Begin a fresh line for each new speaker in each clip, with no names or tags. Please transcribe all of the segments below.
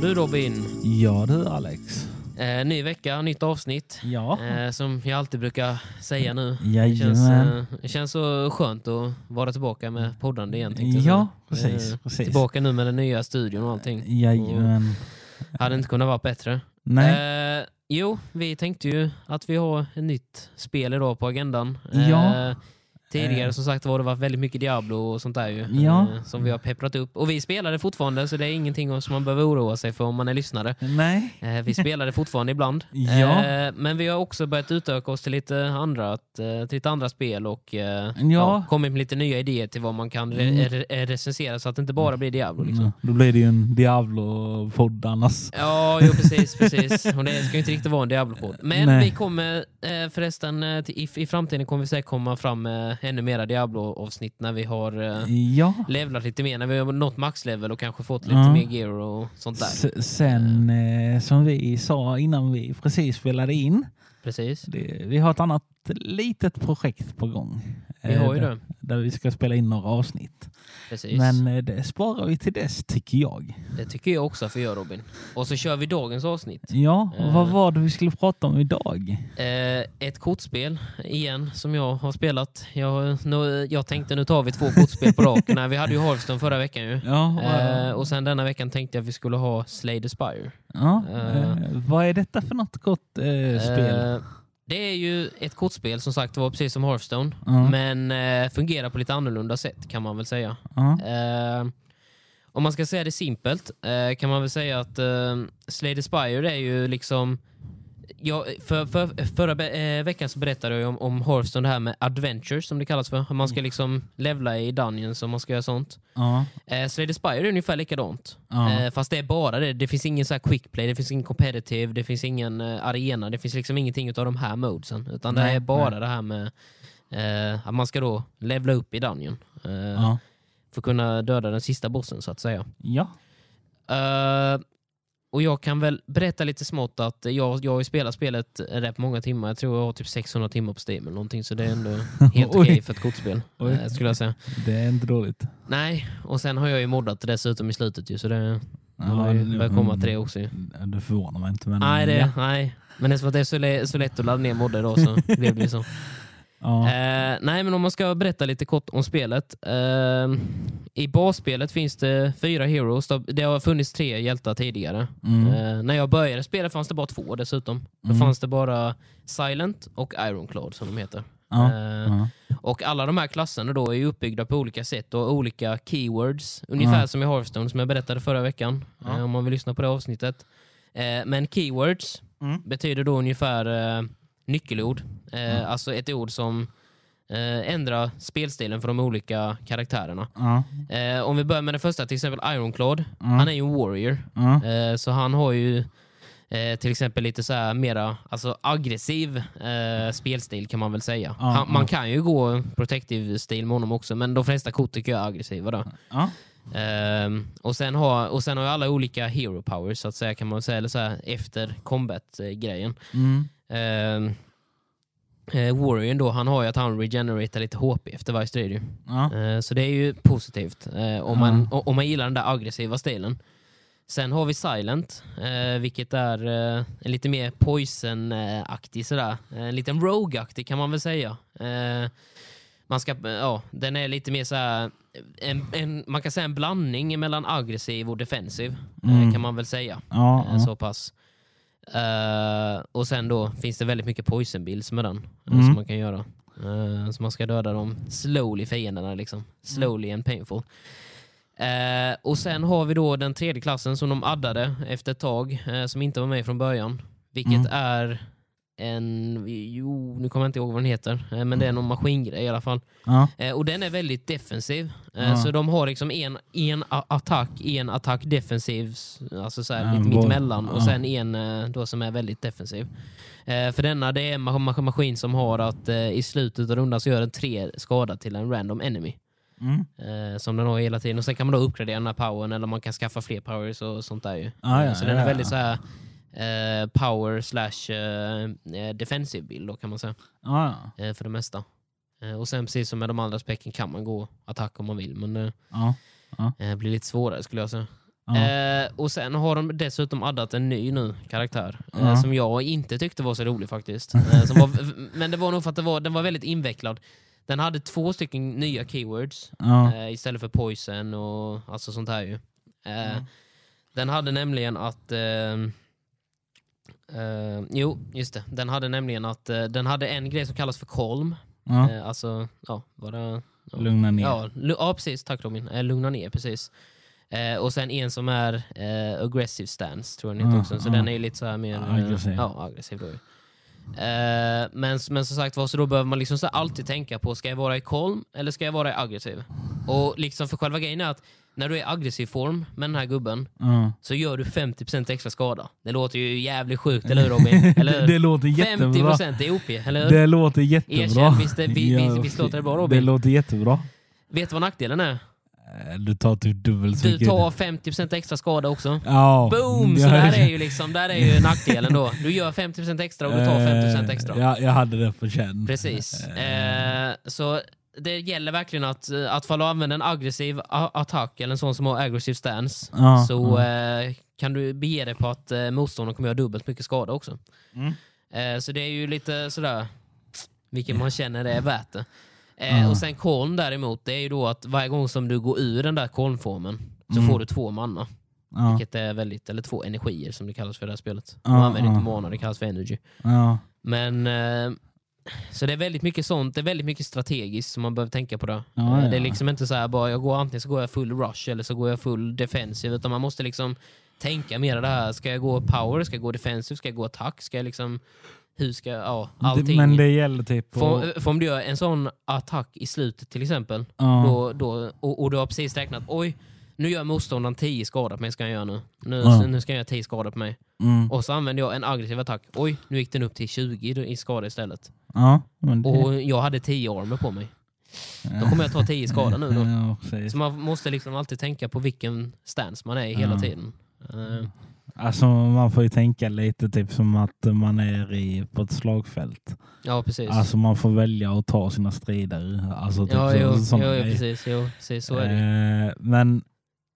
du Robin.
Ja du Alex.
Eh, ny vecka, nytt avsnitt.
Ja.
Eh, som jag alltid brukar säga nu. Det
Jajamän.
känns, eh, det känns så skönt att vara tillbaka med poddande igen. tänkte jag säga. Eh,
Ja, precis, precis.
Tillbaka nu med den nya studion och allting.
Jajamän.
Hade inte kunnat vara bättre.
Nej.
Eh, jo, vi tänkte ju att vi har ett nytt spel idag på agendan. Eh,
Ja.
tidigare
Eh.
som sagt var det varit väldigt mycket Diablo och sånt där ju.
Ja.
eh, som vi har pepprat upp. Och vi spelar det fortfarande så det är ingenting som man behöver oroa sig för om man är lyssnare.
Nej.
Eh, Vi spelar det fortfarande ibland.
Ja.
Eh, Men vi har också börjat utöka oss till lite andra, att, eh, till lite andra spel och eh,
Ja. Mm.
kommit med lite nya idéer till vad man kan re re- re- recensera så att det inte bara blir Diablo. Liksom.
Ja, Mm, Då blir det ju en Diablo-podd annars.
Ja, jo, precis. precis. Och det ska ju inte riktigt vara en Diablo-podd. Men
Nej.
vi kommer eh, förresten, eh, till- i, i framtiden kommer vi säkert komma fram med ännu mera Diablo-avsnitt när vi har eh,
Ja.
levlat lite mer, när vi har nått maxlevel och kanske fått lite
Ja.
mer gear och sånt där.
S- Sen eh, som vi sa innan vi precis spelade in.
Precis.
Det, vi har ett annat litet projekt på gång.
Vi
Eh,
har ju
där-
det.
Där vi ska spela in några avsnitt.
Precis.
Men eh, det sparar vi till dess tycker jag.
Det tycker jag också att vi gör Robin. Och så kör vi dagens avsnitt.
Ja, och
Eh.
vad var det vi skulle prata om idag?
Eh, ett kortspel igen som jag har spelat. Jag, nu, jag tänkte nu tar vi två kortspel på raken. Nej, Vi hade ju Hearthstone förra veckan ju.
Ja, vad-
Eh, och sen denna veckan tänkte jag att vi skulle ha Slay the Spire.
Ja,
Eh.
eh, vad är detta för något gott eh, spel?
Eh, det är ju ett kortspel som sagt var precis som Hearthstone.
Ja.
Men eh, fungerar på lite annorlunda sätt kan man väl säga.
Ja.
Eh, om man ska säga det simpelt eh, kan man väl säga att eh, Slay the Spire är ju liksom... Ja, för, för, förra be- eh, veckan så berättade jag ju om, om Hearthstone, det här med adventures som det kallas för. Att Man
Mm.
ska liksom levla i Dungeons och man ska göra sånt.
Ja.
Eh, Slay the Spire är ungefär likadant.
Ja.
Eh, fast det är bara det. Det finns ingen så här quick play, det finns ingen competitive, det finns ingen eh, arena, det finns liksom ingenting utav de här modesen. Utan det
Nej,
är bara det här med eh, att man ska då levla upp i Dungeon. Eh,
Ja.
för att kunna döda den sista bossen så att säga.
ja.
Eh, och jag kan väl berätta lite smått att jag, jag har ju spelat spelet rätt många timmar. Jag tror jag har typ 600 timmar på Steam eller någonting så det är ändå helt
Oj.
okej för ett kortspel.
Oj.
eh, skulle jag säga.
Det är inte dåligt.
Nej, och sen har jag ju moddat dessutom i slutet ju så det
Ja,
man har ju
det-
börjat komma
mm.
till det också ju.
Det förvånar mig inte. Men,
Nej, det,
ja.
nej, men eftersom att det är så, le, så lätt att ladda ner moddar idag så blev det ju så.
Ja.
Eh, nej, men om man ska berätta lite kort om spelet. Eh, I basspelet finns det fyra heroes. Det har funnits tre hjältar tidigare.
Mm.
Eh, när jag började spela fanns det bara två dessutom. Då
Mm.
fanns det bara Silent och Ironclad som de heter.
Ja.
Eh,
Ja.
Och alla de här klasserna då är ju uppbyggda på olika sätt och olika keywords. Ungefär
Ja.
som i Hearthstone som jag berättade förra veckan.
Ja.
eh, Om man vill lyssna på det avsnittet. Eh, Men keywords
Mm.
betyder då ungefär eh, nyckelord. Eh, Alltså ett ord som eh, ändrar spelstilen för de olika karaktärerna.
Ja.
Eh, Om vi börjar med den första, till exempel Ironclad.
Ja.
Han är ju en warrior.
Ja.
Eh, Så han har ju eh, till exempel lite så här mera alltså aggressiv eh, spelstil kan man väl säga.
Ja,
han, man
ja.
kan ju gå protective stil med honom också, men de flesta kort tycker jag är aggressiva. Då.
Ja.
Ehm, och, sen har, och sen har ju alla olika hero powers så att säga, kan man säga, eller så här, efter eh, combat-grejen.
Mm.
Um, eh, Warrior då, han har ju att han regeneratar lite HP efter varje strid. ju.
Ja.
Eh, Så det är ju positivt eh, om, man, o- om man gillar den där aggressiva stilen. Sen har vi Silent, eh, vilket är eh, en lite mer poison-aktig sådär. Eh, En liten rogue-aktig kan man väl säga. Eh, man ska, eh, ja, den är lite mer såhär, en, en, man kan säga en blandning mellan aggressiv och defensiv. eh,
Mm.
Kan man väl säga.
Ja.
Eh, Så pass. Eh, och sen då finns det väldigt mycket poison bills med den eh,
Mm.
som man kan göra. Eh, så man ska döda dem slowly fienderna liksom. Slowly and painful. Eh, och sen har vi då den tredje klassen som de addade efter ett tag, eh, som inte var med från början. Vilket
Mm.
är en, jo nu kommer jag inte ihåg vad den heter, eh, men
Mm.
det är någon maskingrej i alla fall.
Ja.
Eh, och den är väldigt defensiv. Eh,
Ja.
Så de har liksom en, en a- attack, en attack defensiv, s- alltså så här,
Ja,
lite
en boll.
mittemellan, och
Ja.
sen en eh, då som är väldigt defensiv. Eh, för denna det är en ma- ma- maskin som har att eh, i slutet av rundan så gör den tre skada till en random enemy.
Mm.
Eh, som den har hela tiden. Och Sen kan man då uppgradera den här powern eller man kan skaffa fler powers och sånt där. Ju.
Ah, Ja, ja,
Eh, så den
ja,
är
ja.
väldigt så här, eh, power slash eh, eh, defensiv bild då, kan man säga
Ja.
eh, för det mesta. Eh, Och sen precis som med de andra specken kan man gå attack om man vill, men eh,
Ja.
det blir lite svårare skulle jag säga.
Ja.
Eh, och sen har de dessutom addat en ny nu karaktär.
Ja.
Eh, som jag inte tyckte var så rolig faktiskt. Eh, som var, men det var nog för att det var, den var väldigt invecklad. Den hade två stycken nya keywords
Ja.
eh, istället för poison och alltså sånt här ju. Eh,
Mm.
Den hade nämligen att... ehm, eh, jo, just det. Den hade nämligen att eh, den hade en grej som kallas för kolm.
Ja.
Eh, alltså, ja, vad det, ja.
Lugna ner.
Ja, lu- ja, precis. Tack Robin. Eh, Lugna ner, precis. Eh, och sen en som är eh, aggressive stance, tror jag den heter
Ja,
också. Så
ja.
den är ju lite så här mer... eh,
Aggressiv.
Ja, aggressiv då. ju. Eh, men, men som sagt var, så då behöver man liksom så här alltid tänka på, ska jag vara i kolm eller ska jag vara i aggressiv? Och liksom för själva grejen är att när du är i aggressiv form med den här gubben
Ja.
så gör du 50% extra skada. Det låter ju jävligt sjukt, eller hur Robin? Eller
Det,
hur?
det låter jättebra.
50% är OP, eller hur?
Det låter jättebra.
Erkänn, visst det- vi- vi-
Ja,
visst låter det bra,
Det
Robin?
låter jättebra.
Vet du vad nackdelen är?
Eh, Du tar typ dubbelt så
Du
mycket.
tar 50% extra skada också.
Ja.
Boom! Så
Jag-
där är ju, liksom, där är ju nackdelen då. Du gör 50% extra och du tar
Eh,
50% extra.
Ja, jag hade det på känn.
Precis. Eh, så det ggäller verkligen att, eh, att falla använda en aggressiv a- attack eller en sån som har aggressiv stance
Ja,
så eh, kan du bege dig på att eh, motståndaren kommer göra dubbelt mycket skada också.
Mm.
Eh, så det är ju lite sådär, vilket man känner det är värt det. Eh,
Ja.
Och sen koln däremot, det är ju då att varje gång som du går ur den där kolnformen så
Mm.
får du två manna.
Ja.
Vilket är väldigt, eller två energier som det kallas för det här spelet.
Ja,
Man använder
ja.
inte mana, det kallas för energy.
Ja.
Men, eh, så det är väldigt mycket sånt, det är väldigt mycket strategiskt som man behöver tänka på det.
Ja,
Eh, Det är
ja.
liksom inte så här bara, jag går antingen så går jag full rush eller så går jag full defensiv. Utan man måste liksom tänka mer det här, ska jag gå power, ska jag gå defensiv, ska jag gå attack, ska jag liksom, hur ska jag, ja allting.
Men det gäller typ på...
för, för om du gör en sån attack i slutet till exempel,
Ja.
då, då, och, och du har precis räknat, oj, nu gör motståndaren 10 skada på mig, ska han göra nu. Nu,
Ja.
nu ska han göra 10 skada på mig.
Mm.
Och så använder jag en aggressiv attack. Oj, nu gick den upp till 20 då- i skada istället.
Ja, men det...
Och jag hade 10 armer på mig.
Mm.
Då kommer jag ta 10 skada nu då.
Ja, precis.
Så man måste liksom alltid tänka på vilken stance man är i hela
Ja.
tiden. Eh,
Alltså man får ju tänka lite typ som att man är i, på ett slagfält.
Ja, precis.
Alltså man får välja att ta sina strider. Alltså typ
Ja,
så,
jo, jo,
såna
jo,
grejer.
precis, jo, precis. Så är det ju.
Eh, Men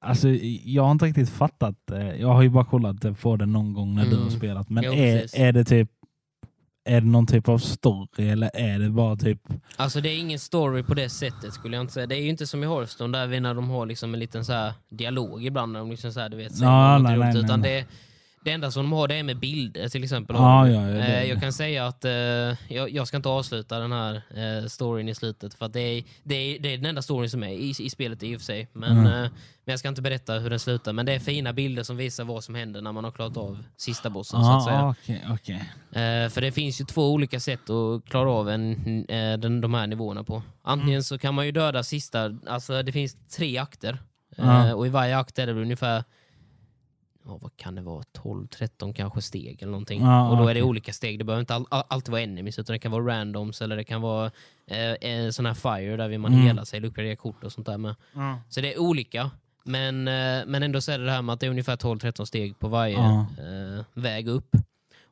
alltså jag har inte riktigt fattat. eh, Jag har ju bara kollat eh, på det någon gång när du
Mm.
har spelat. Men
Jo, precis.
är, är det typ är det någon typ av story eller är det bara typ...
Alltså det är ingen story på det sättet skulle jag inte säga. Det är ju inte som i Hearthstone där vi när de har liksom en liten så här dialog ibland. När de liksom så här, du vet, säger
Ja,
något
nej,
roligt,
nej,
utan
nej,
Det, det enda som de har det är med bilder till exempel.
Ja, ja, ja, det-
Eh, Jag kan säga att eh, jag, jag ska inte avsluta den här eh, storyn i slutet för att det är, det, är, det är den enda storyn som är i, i spelet i och för sig. Men,
Mm.
eh, men jag ska inte berätta hur den slutar. Men det är fina bilder som visar vad som händer när man har klarat av sista bossen. så att säga.
Ja, Ah, okej. okej.
Eh, för det finns ju två olika sätt att klara av en, eh, den, de här nivåerna på. Antingen
Mm.
så kan man ju döda sista, alltså det finns tre akter. Eh,
Ja.
och i varje akt är det ungefär, ja vad kan det vara, 12-13 kanske steg eller någonting.
Ja,
och då är det
okej.
olika steg, det behöver inte all, all, alltid vara enemies utan det kan vara randoms eller det kan vara eh, eh, sån här fire där man
Mm.
helar sig eller uppgraderar kort och sånt där med. Så det är olika. Men, eh, men ändå så är det det här med att det är ungefär 12-13 steg på varje
Ja.
eh, väg upp.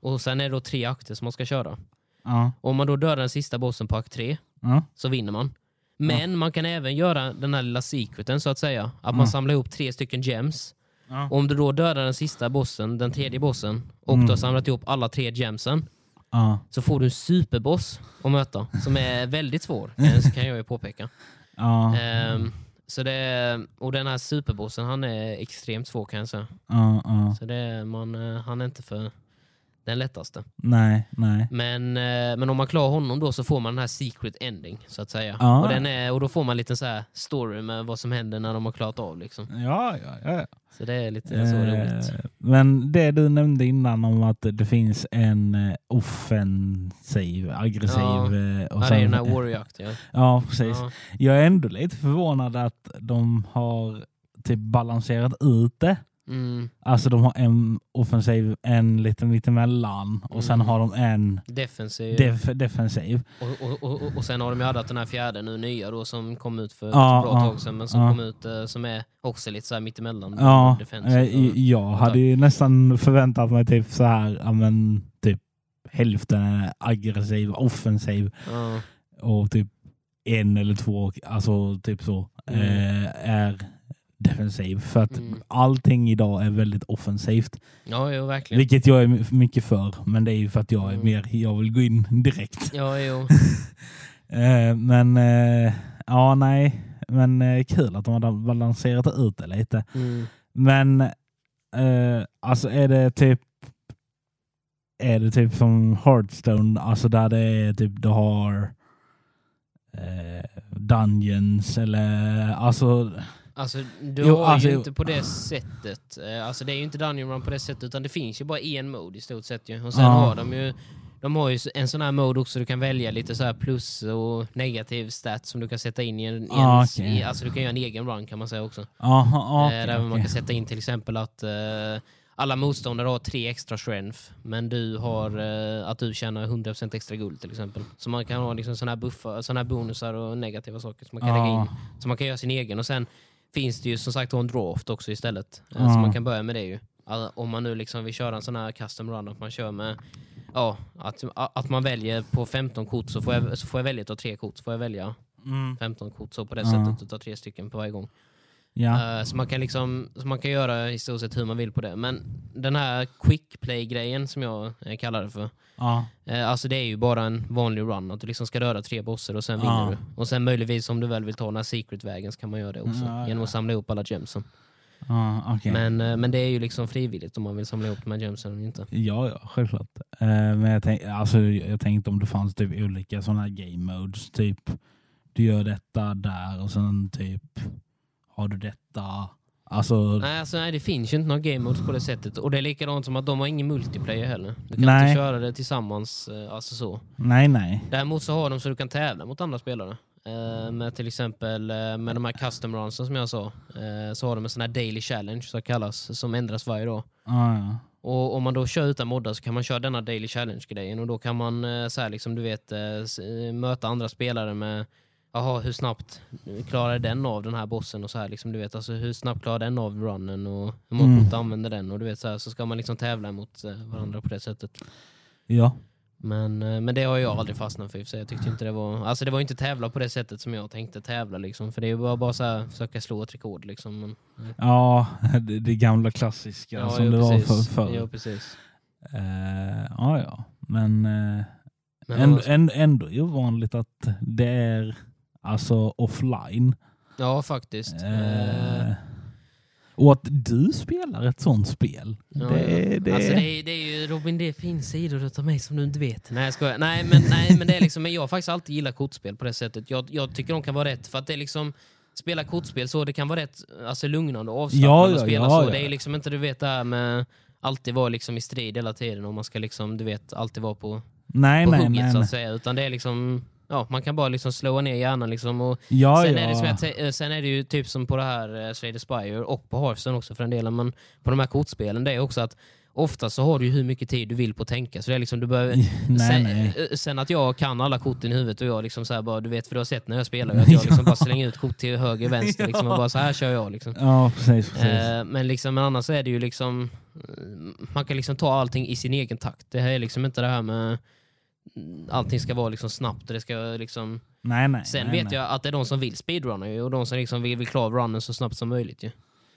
Och sen är det då tre akter som man ska köra.
Ja,
Om man då dödar den sista bossen på akt 3
ja,
så vinner man. Men man kan även göra den här lilla secreten så att säga. Att man samlar ihop tre stycken gems.
Mm. Ja.
Och om du då dödar den sista bossen, den tredje bossen, och
Mm.
du har samlat ihop alla tre gemsen,
ja.
så får du en superboss att möta. Som är väldigt svår, eh, så kan jag ju påpeka.
ja,
Ehm, så det, och den här superbossen, han är extremt svår kan jag säga.
ja, ja.
Så det, man, eh, han är inte för den lättaste.
Nej, nej.
Men, eh, men om man klarar honom då så får man den här secret ending, så att säga.
Ah.
Och, den är, och då får man en liten så här story med vad som händer när de har klarat av. Liksom.
Ja, ja, ja.
Så det är lite så roligt.
Eh, Men det du nämnde innan om att det finns en eh, offensiv, aggressiv...
Ja.
eh, Och
Ja, det är ju den här warrior act, ja.
ja, precis.
ja.
Jag är ändå lite förvånad att de har typ balanserat ut det.
Mm,
Alltså de har en offensiv, en lite mittemellan och sen
Mm.
har de en
defensiv.
def defensiv.
och, och, och, och, och sen har de ju addat den här fjärde nu, nya då, som kom ut för
Ja,
ett bra
ja,
tag sedan, men som
ja.
kom ut eh, som är också lite så här mittemellan.
Ja,
defensiv
eh,
och-
jag hade ju nästan förväntat mig typ så här, ja men typ hälften är aggressiv, offensiv
Ja.
och typ en eller två, alltså typ så,
Mm.
eh, är defensiv. För att
Mm.
allting idag är väldigt offensivt.
Ja, jo, verkligen.
Vilket jag är my- mycket för. Men det är ju för att jag är
Mm.
mer, jag vill gå in direkt.
Ja, jo.
Eh, men eh, ja, nej. Men eh, kul att de har balanserat ut det lite.
Mm.
Men eh, alltså är det typ är det typ som Hearthstone, alltså där det är typ du har eh, Dungeons eller alltså
Alltså, du
Jo,
har
alltså,
ju
jo.
inte på det sättet. eh, Alltså, det är ju inte Dungeon Run på det sättet, utan det finns ju bara en mode i stort sett. Ju. Och sen
Ja.
har de ju de har ju en sån här mode också, du kan välja lite så här plus och negativ stat som du kan sätta in i en... I en
Ah, okej.
i, alltså du kan göra en egen run kan man säga också.
aha,
Eh,
okej,
där man
okej.
kan sätta in till exempel att eh, alla motståndare har tre extra strength, men du har eh, att du tjänar 100% extra guld till exempel. Så man kan ha liksom sådana här, buffar- såna här bonusar och negativa saker som man kan lägga
Ja.
in. Så man kan göra sin egen. Och sen finns det ju som sagt en draft också istället. Eh,
Ja.
Så man kan börja med det ju. Alltså, om man nu liksom vill köra en sån här custom run, att man kör med Ja, att, att man väljer på 15 kort så får jag, så får jag välja att ta tre kort, så får jag välja
Mm,
15 kort så på det
Ja.
sättet och ta tre stycken på varje gång.
ja.
Eh, Så man kan liksom, så man kan göra i stort sett hur man vill på det. Men den här quick play-grejen som jag eh, kallar det för.
ja.
eh, Alltså det är ju bara en vanlig run, att du liksom ska döda tre bossar och sen
Ja.
vinner du. Och sen möjligtvis om du väl vill ta den här secret-vägen så kan man göra det också.
Ja, ja.
Genom att samla ihop alla gemsen.
ja okej.
Men, eh, men det är ju liksom frivilligt om man vill samla ihop de här gemsen eller inte.
Ja, ja, självklart. Eh, men jag, tänk, alltså, jag tänkte om det fanns typ olika sådana här game modes. Typ, du gör detta där och sen typ har du detta. Alltså,
Nej, alltså, nej, det finns ju inte några game modes på det sättet. Och det är likadant som att de har ingen multiplayer heller. Du kan
Nej.
inte köra det tillsammans. eh, Alltså så.
nej, nej.
Däremot så har de så du kan tävla mot andra spelare. Eh, med till exempel eh, med de här custom runsen som jag sa, eh, så har de en sån här daily challenge som kallas, som ändras varje dag.
Ja, ja.
Och om man då kör utan moddar så kan man köra denna daily challenge-grejen och då kan man eh, så här liksom, du vet, eh, s- eh, möta andra spelare med Jaha, hur snabbt klarar den av den här bossen? och så här liksom, du vet, alltså, Hur snabbt klarar den av runnen? och Hur många
Mm.
kort använder den? och du vet så, här, så ska man liksom tävla mot eh, varandra på det sättet.
ja.
Men, eh, men det har
Mm.
jag aldrig fastnat för i och för sig. Jag tyckte inte det var... Alltså det var ju inte tävla på det sättet som jag tänkte tävla liksom. För det är ju bara, bara så här, försöka slå ett rekord liksom. Men,
ja det, det gamla klassiska som
jo,
det var
precis.
för, förr.
Jo, precis.
Eh, ja, ja. Men, eh,
Men
ändå,
alltså-
ändå, ändå är det ovanligt att det är alltså offline.
Ja, faktiskt. Eh,
Eh, och att du spelar ett sånt spel.
ja,
det,
ja.
det,
Alltså det, är- det är ju Robin, det finns sidor utav mig som du inte vet. Nej, jag skojar. Nej, men, nej, men det är liksom... Men jag har faktiskt alltid gillat kortspel på det sättet. Jag, jag tycker de kan vara rätt för att det är liksom... Spela kortspel så, det kan vara rätt alltså, lugnande och
Ja,
avslappnande
ja,
att spela
ja,
så.
ja.
Det är liksom inte, du vet, det här med alltid vara liksom i strid hela tiden och man ska liksom, du vet, alltid vara på,
nej,
på
nej,
hugget
nej,
så
nej.
att säga. Utan det är liksom, ja, man kan bara liksom slå ner hjärnan liksom. Och
Ja,
sen,
ja.
Är det som jag, te- eh, sen är det ju typ som på det här eh, Slay the Spire och på Hearthstone också för den delen, men på de här kortspelen, det är också att ofta så har du ju hur mycket tid du vill på att tänka. Så det är liksom, du behöver,
Nej,
sen,
nej.
eh, sen att jag kan alla korten i huvudet och jag liksom så här bara, du vet för du har sett när jag spelar, att jag liksom bara slänger ut kort till höger och vänster liksom, och bara så här kör jag liksom.
Ja, precis. precis.
Eh, men, liksom, men annars är det ju liksom, eh, man kan liksom ta allting i sin egen takt. Det här är liksom inte det här med mm, allting ska vara liksom snabbt. Och det ska liksom...
nej, nej.
Sen
nej,
vet
nej.
jag att det är de som vill speedrunna ju, och de som liksom vill, vill klara av runnen så snabbt som möjligt. Ju.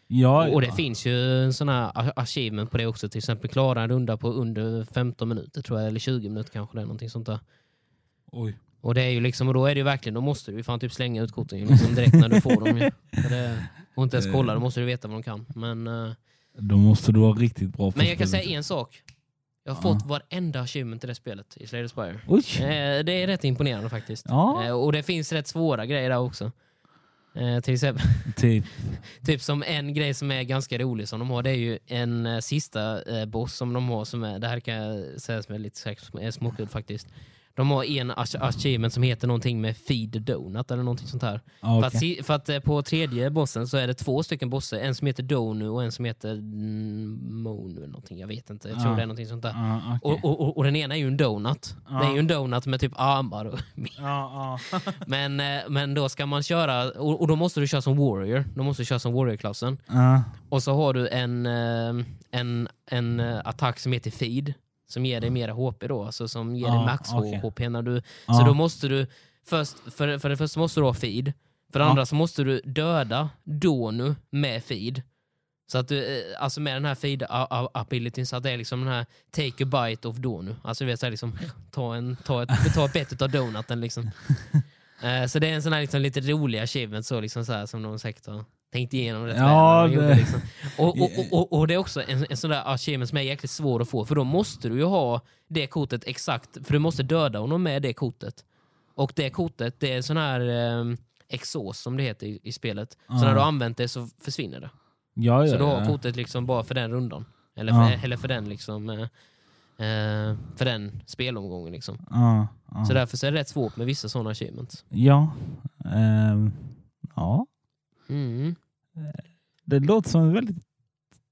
Ja,
Och det
ja.
finns ju en sån här a- achievement på det också. Till exempel klara en runda på under 15 minuter tror jag, eller 20 minuter kanske. Det är någonting sånt där.
Oj.
Och det är ju liksom, och då är det ju verkligen, då måste du ju fan typ slänga ut korten ju, liksom direkt när du får dem. Ju. För det, och inte ens
Eh.
kolla, då måste du veta vad de kan. Men, eh,
Då måste du vara riktigt bra på
men jag kan
spelet.
säga en sak. Jag har fått varenda achievement i det spelet i Slay the Spire.
Oj.
Eh, Det är rätt imponerande faktiskt.
Ja.
Eh, Och det finns rätt svåra grejer där också. Eh, Till exempel,
Typ.
typ som en grej som är ganska rolig som de har, det är ju en eh, sista eh, boss som de har, som är, det här kan jag säga som är lite så här sm- eh, småkul faktiskt. De har en ach- achievement som heter någonting med Feed the Donut eller någonting sånt här.
Ja,
För, att,
okej.
si- för att eh, på tredje bossen så är det två stycken bossar, en som heter Donu och en som heter mm, Monu eller någonting, jag vet inte. Jag tror
Ja.
det är någonting sånt där.
Ja, okej.
Och, och, och, och den ena är ju en donut. Det är ju en donut med typ armar. Och,
Ja, ja.
men, eh, men då ska man köra, och, och då måste du köra som warrior. Då måste du köra som warrior-klassen.
Ja.
Och så har du en, eh, en, en eh, attack som heter feed. Som ger dig mer HP då, alltså som ger dig
Ah,
max
okej.
HP. När du,
Ja.
Så då måste du, först, för, för det första måste du ha feed. För det andra så måste du döda Donu med feed. Så att du, eh, alltså med den här feed a- a- abilityn så att det är liksom den här take a bite of Donu. Alltså du vet såhär liksom, ta, en, ta, ett, ta ett bett utav donuten liksom. Eh, så det är en sån här liksom, lite rolig achievement så liksom så här, som de säkert har tänkt igenom rätt
Ja,
väl. när de gjorde,
det-
Liksom. Och, och, och, och, och det är också en, en sån där achievement som är jäkligt svår att få för då måste du ju ha det kortet exakt, för du måste döda honom med det kortet. Och det kortet, det är sån här eh, exos som det heter i, i spelet. Så när du har använt det så försvinner det.
Ah. Ja, ja,
Så du har
ja.
kortet liksom bara för den rundan. Eller för,
Ja.
eller för den liksom eh, eh, för den spelomgången. Liksom.
Ja, ja.
Så därför så är det rätt svårt med vissa sådana achievements.
ja. Ehm, ja.
Mm.
Det låter som väldigt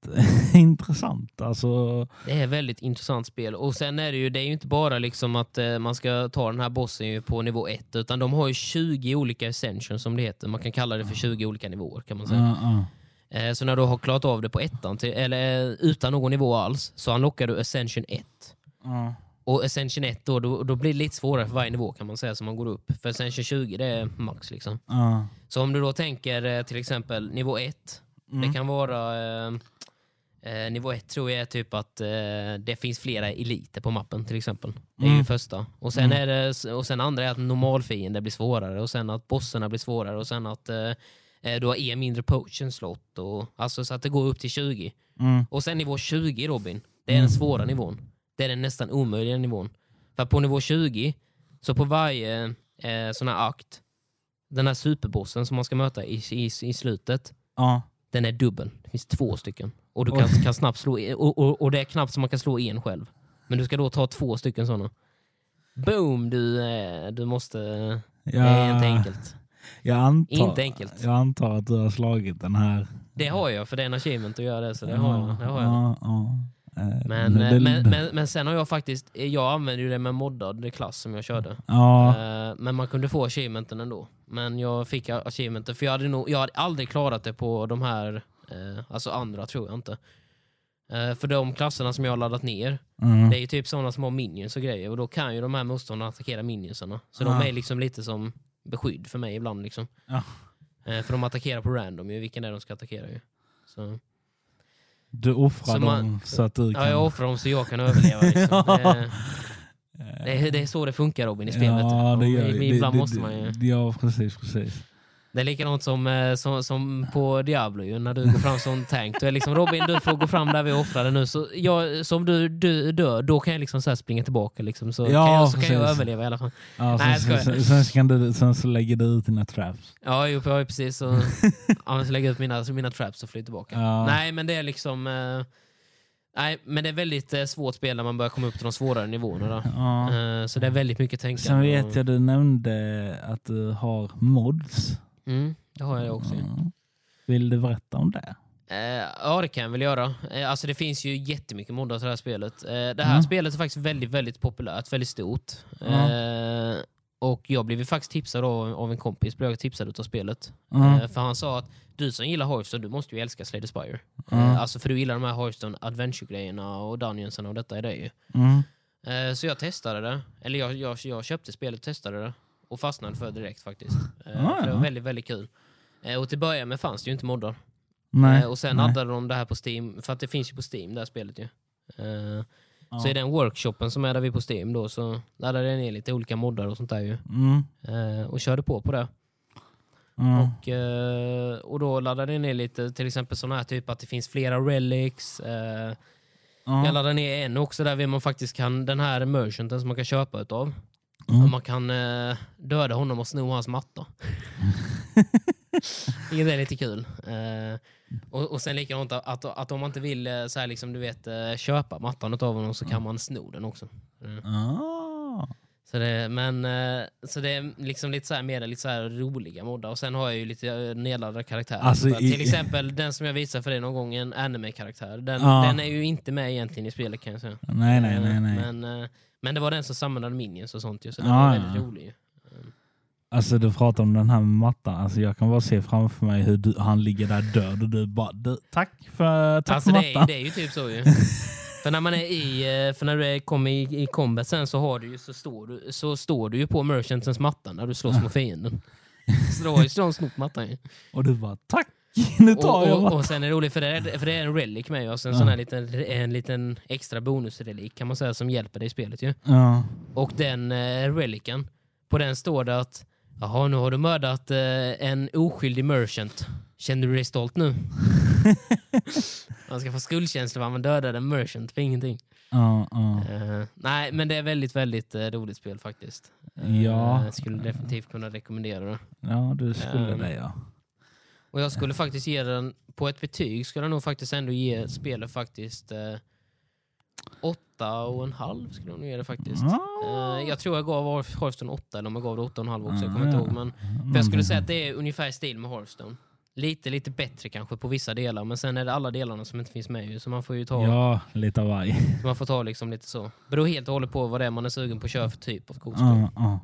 intressant. Alltså,
Det är väldigt intressant spel. Och sen är det ju, det är ju inte bara liksom att eh, man ska ta den här bossen ju på nivå 1, utan de har ju 20 olika essentials som det heter. Man kan kalla det för 20 olika nivåer kan man säga.
ja, ja.
Eh, Så när du har klarat av det på ettan, till, eller eh, utan någon nivå alls, så unlockar du Ascension 1.
Ja.
Och Ascension 1 då, då, då blir det lite svårare för varje nivå kan man säga som man går upp. För Ascension 20 det är max liksom.
Ja.
Så om du då tänker eh, till exempel nivå 1.
Mm,
Det kan vara... Eh, eh, nivå 1 tror jag är typ att eh, det finns flera eliter på mappen till exempel. Det är ju första. Och sen, är det, och sen andra är att normalfiender blir svårare och sen att bossarna blir svårare och sen att eh, eh, du har en mindre potion slot. Och, alltså så att det går upp till 20.
Mm.
Och sen nivå 20 Robin, det är den svåra nivån. Det är den nästan omöjliga nivån. För på nivå 20, så på varje eh, sån här akt, den här superbossen som man ska möta i, i, i slutet,
Ja.
den är dubbel. Det finns två stycken. Och, du kan, kan snabbt slå, i- och, och, och det är knappt så man kan slå en själv. Men du ska då ta två stycken sådana. Boom! Du, eh, du måste... Det är inte enkelt.
Jag antar,
Inte enkelt.
Jag antar att du har slagit den här.
Det har jag, för det är en achievement att göra det. Så det har jag. Det har jag.
Ja, ja. Eh,
Men,
det-
eh,
det-
men, men, men sen har jag faktiskt, jag använde ju det med moddad klass som jag körde.
ja,
Eh, Men man kunde få achievementen ändå. Men jag fick a- achievementen, för jag hade, nog, jag hade aldrig klarat det på de här, eh, alltså andra tror jag inte. Eh, för de klasserna som jag har laddat ner,
mm.
det är ju typ sådana som har minions och grejer och då kan ju de här motståndarna attackera minionsarna. Så de
Ja.
är liksom lite som beskydd för mig ibland. Liksom.
Ja.
Eh, för de attackerar på random ju, vilken det är de ska attackera ju. Så.
Du offrar
så
dem
man-
så att du kan...
Ja, jag offrar dem så jag kan överleva. Liksom.
Ja. Eh.
det, det, är- det är så det funkar Robin i spelet.
Ja, det gör
Och
vi.
Ibland
Det- det-
måste man ju.
det- Ja, precis. precis.
Det är likadant som, eh, som, som på Diablo ju, när du går fram som tank. Du är liksom Robin, du får gå fram där vi offrade nu. Så jag, som du, du dör, då kan jag liksom så här springa tillbaka. Liksom, så
Ja,
kan jag, så kan jag
precis.
överleva i alla fall.
Ja,
Nej,
sen,
jag skojar.
sen, sen, så kan du, sen så lägger du ut dina traps.
Ja, jo, jag har ju precis så, ja, men så lägga ut mina, så mina traps och fly tillbaka.
Ja.
Nej, men det är liksom... eh, nej, men det är väldigt eh, svårt spel när man börjar komma upp till de svårare nivåerna. Då.
Ja.
Eh, så det är väldigt mycket tänkande.
Sen
och-
vet jag du nämnde att du har mods.
Mm, det har jag också.
Mm. Vill du berätta om det?
Eh, ja, det kan jag väl göra. Eh, alltså, det finns ju jättemycket moddar till det här spelet. Eh, det här
Mm.
spelet är faktiskt väldigt, väldigt populärt, väldigt stort.
Ja.
Eh, och jag blev ju faktiskt tipsad av, av en kompis, blev jag tipsad utav spelet.
Mm.
Eh, för han sa att du som gillar Hearthstone, du måste ju älska Slay the Spire.
Mm.
Eh, alltså för du gillar de här Hearthstone adventure-grejerna och dungeonsen och detta är det ju.
Mm.
Eh, så jag testade det. Eller jag, jag, jag köpte spelet och testade det. Och fastnade för det direkt faktiskt. Eh,
Ah,
för det
ja.
var väldigt, väldigt kul. Eh, och till början med fanns det ju inte moddar.
Nej.
Eh, Och sen
nej.
laddade de det här på Steam, för att det finns ju på Steam det här spelet ju. Eh, Så
Ja.
i den workshopen som är där vi på Steam då så laddade jag ner lite olika moddar och sånt där ju.
Mm.
Eh, Och körde på på det.
Mm.
Och, eh, och då laddade jag ner lite, till exempel sådana här typ att det finns flera relics. eh,
Ja.
Jag laddade ner en också där man faktiskt kan, den här merchanten som man kan köpa utav.
Mm.
Man kan eh, döda honom och sno hans matta. Vilket är lite kul. Eh, och, och sen likadant att, att, att om man inte vill eh, så här liksom, du vet, eh, köpa mattan utav honom så kan man sno den också. Mm.
Ah.
Så det, men, eh, så det är liksom lite så här, mer lite så här roliga moddar. Och sen har jag ju lite eh, nedladdade karaktärer.
Alltså,
För att
i-
Till exempel den som jag visade för dig någon gång, en anime-karaktär. Den,
Ja.
den är ju inte med egentligen i spelet kan jag säga.
Nej, nej, nej. nej.
Men, eh, men det var den som samlade minions och sånt ju, så den
Ja,
var
ja.
väldigt rolig. ju.
Alltså du pratar om den här mattan. Alltså, jag kan bara se framför mig hur du, han ligger där död och du bara du, tack för tack
Alltså
för
det är,
mattan.
det är ju typ så ju. för när man är i, eh, för när du är- kommer i, i combat sen så, har du ju, så, står du, så står du ju på merchantens matta när du slåss mot fienden. Så då har ju de snott mattan ju.
Och du bara tack, nu tar
Och,
jag
och,
mattan.
och sen är det roligt för det är, för det är en relic med ju, alltså en
Ja.
sån här liten, en liten extra bonusrelik kan man säga som hjälper dig i spelet ju.
Ja.
Och den eh, reliken, på den står det att Jaha, nu har du mördat eh, en oskyldig merchant. Känner du dig stolt nu? man ska få skuldkänsla om man dödade en merchant för ingenting.
Ja, ja.
Eh, nej, men det är väldigt, väldigt eh, roligt spel faktiskt.
Ja.
Jag skulle definitivt kunna rekommendera det.
ja, du skulle
Ehm.
det ja.
Och jag skulle faktiskt ge den, på ett betyg skulle jag nog faktiskt ändå ge spelet faktiskt eh, åtta och en halv skulle jag nog ge det faktiskt.
Ah.
Eh, jag tror jag gav Har- Hearthstone åtta, eller om jag gav det åtta och en halv också, jag
Ah,
kommer inte
ja.
ihåg. Men för jag skulle säga att det är ungefär i stil med Hearthstone. Lite, lite bättre kanske på vissa delar, men sen är det alla delarna som inte finns med ju, så man får ju ta,
Ja, lite av varje.
så man får ta liksom lite så. Beror helt och hållet på vad det är man är sugen på att köra för typ av kortspel.
Ja, ja.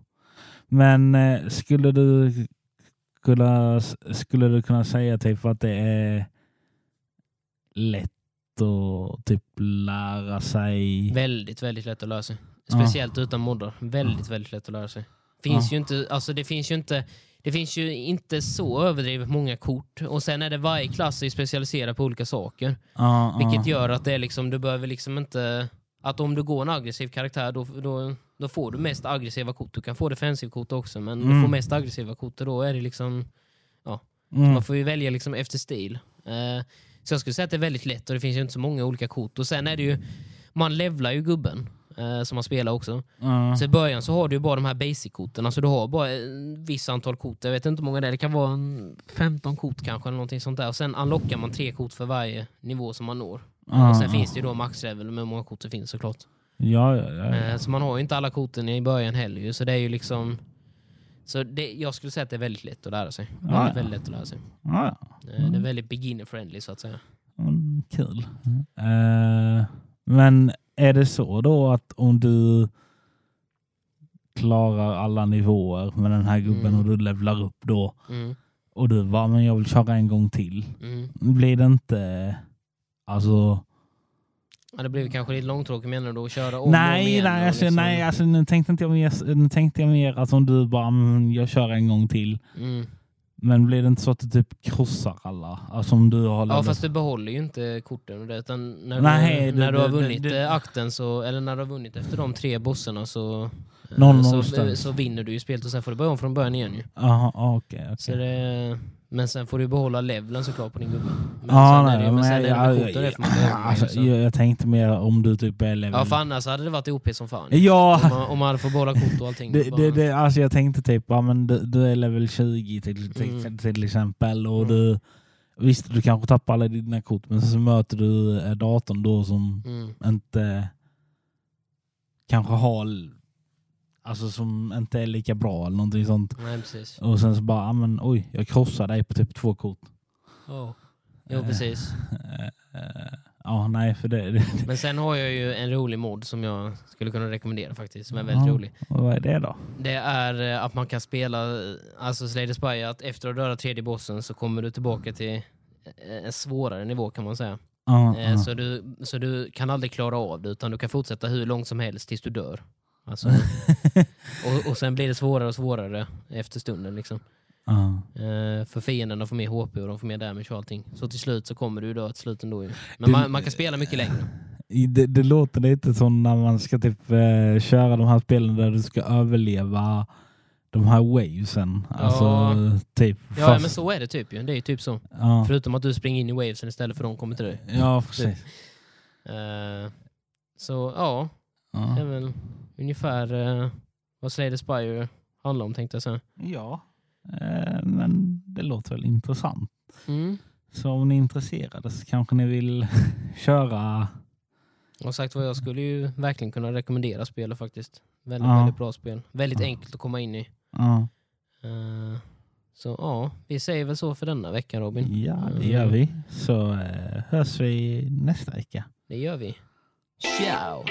Men eh, skulle du kunna, skulle du kunna säga typ att det är lätt att typ lära sig?
Väldigt, väldigt lätt att lära sig.
Ja.
Speciellt utan moddar. Väldigt, väldigt lätt att lära sig. Finns
Ja.
ju inte, alltså det finns ju inte det finns ju inte så överdrivet många kort och sen är det varje klass är ju specialiserad på olika saker.
Ja, ja.
Vilket gör att det är liksom, du behöver liksom inte... Att om du går en aggressiv karaktär då, då, då får du mest aggressiva kort. Du kan få defensivkort också men du
Mm.
får mest aggressiva kort och då är det liksom...
mm.
Man får ju välja liksom efter stil. Eh, så jag skulle säga att det är väldigt lätt och det finns ju inte så många olika kort. Och sen är det ju, man levlar ju gubben eh, som man spelar också.
ja.
Så i början så har du ju bara de här basic-korten. Alltså du har bara ett visst antal kort. Jag vet inte hur många det är. Det kan vara en 15 kort kanske eller någonting sånt där. Och sen unlockar man tre kort för varje nivå som man når.
Ja,
och sen
ja.
finns det ju då maxlevel med hur många kort det finns såklart.
Ja, ja, ja.
Eh, Så man har ju inte alla korten i början heller ju. Så det är ju liksom... Så det, jag skulle säga att det är väldigt lätt att lära sig. Väldigt,
Ah, Ja, ja.
väldigt lätt att lära sig.
ja, ja.
Eh, Det är väldigt beginner-friendly så att säga.
Mm, kul. Eh, men är det så då att om du klarar alla nivåer med den här gubben
Mm.
och du levlar upp då
Mm,
och du bara, men jag vill köra en gång till.
mm.
Blir det inte... Alltså...
Ja, det blir kanske lite långtråkigt menar du då att köra om och om
nej,
igen?
nej,
och
alltså,
liksom-
nej alltså, nu tänkte inte jag mer, nu tänkte jag mer att om du bara, mm, jag kör en gång till.
Mm.
Men blir det inte så att du typ krossar alla? Alltså om du har...
Ja
laddat-
fast du behåller ju inte korten och det, utan när,
Nej,
du,
det-
när du har
det-
vunnit
det- det-
eh, akten, så, eller när du har vunnit efter de tre bossarna så, eh,
Någon
så,
någonstans.
så vinner du ju spelet och sen får du börja om från början igen ju.
Jaha, ja, okej. okej.
Så det, men sen får du behålla leveln såklart på din gubbe. Men sen
Ja,
är
Ah, nej,
det, ju- men sen är det
jag-
med korten det får man
jag-
behöva.
alltså,
så.
jag, jag tänkte mer om du typ är level...
Ja för annars hade det varit OP som fan. Om,
ja
man, om man hade fått behålla kort och allting.
det,
bara-
det, det, alltså jag tänkte typ, ja, men du, du är level 20 till, till,
Mm.
till exempel. Och
Mm.
du, visst, du kanske tappar alla dina kort, men så möter du eh, datorn då som
Mm.
inte kanske har... Alltså som inte är lika bra eller någonting sånt.
Nej precis.
Och sen så bara, ja, men, oj, jag krossar dig på typ två kort.
Oh. Jo precis.
Eh, eh, Ja, nej, för det... det
Men sen har jag ju en rolig mod som jag skulle kunna rekommendera faktiskt, som är väldigt
Ja.
rolig.
vad är det då?
Det är eh, att man kan spela, eh, alltså Slay Spy, att efter att ha dödat tredje bossen så kommer du tillbaka till eh, en svårare nivå kan man säga.
Ja,
Eh,
ja.
Så, du, så du kan aldrig klara av det utan du kan fortsätta hur långt som helst tills du dör. Alltså, och, och sen blir det svårare och svårare efter stunden. Liksom.
Ja.
Eh, För fienderna får mer HP och de får mer damage och allting. Så till slut så kommer du ju dö till slut ändå. Ju. Men
Det-
man, man kan spela mycket längre.
I- Det, det låter lite som när man ska typ eh, köra de här spelen där du ska överleva de här wavesen. Alltså
Ja.
typ.
Ja men så är det typ ju. Det är ju typ så.
ja.
Förutom att du springer in i wavesen istället för de kommer till dig.
ja, precis.
Eh, så ja, det är
Ja.
väl ungefär eh, vad Slay the Spire handlar om tänkte jag säga.
ja. Eh, Men det låter väl intressant.
Mm.
Så om ni är intresserade så kanske ni vill köra.
Och sagt vad jag skulle ju verkligen kunna rekommendera spelet faktiskt. Väldigt,
Ja.
väldigt bra spel. Väldigt
Ja.
enkelt att komma in i.
Ja,
Eh, så ja, vi säger väl så för denna vecka Robin. Eh,
ja det gör vi. Så eh, hörs vi nästa vecka.
Det gör vi. Ciao!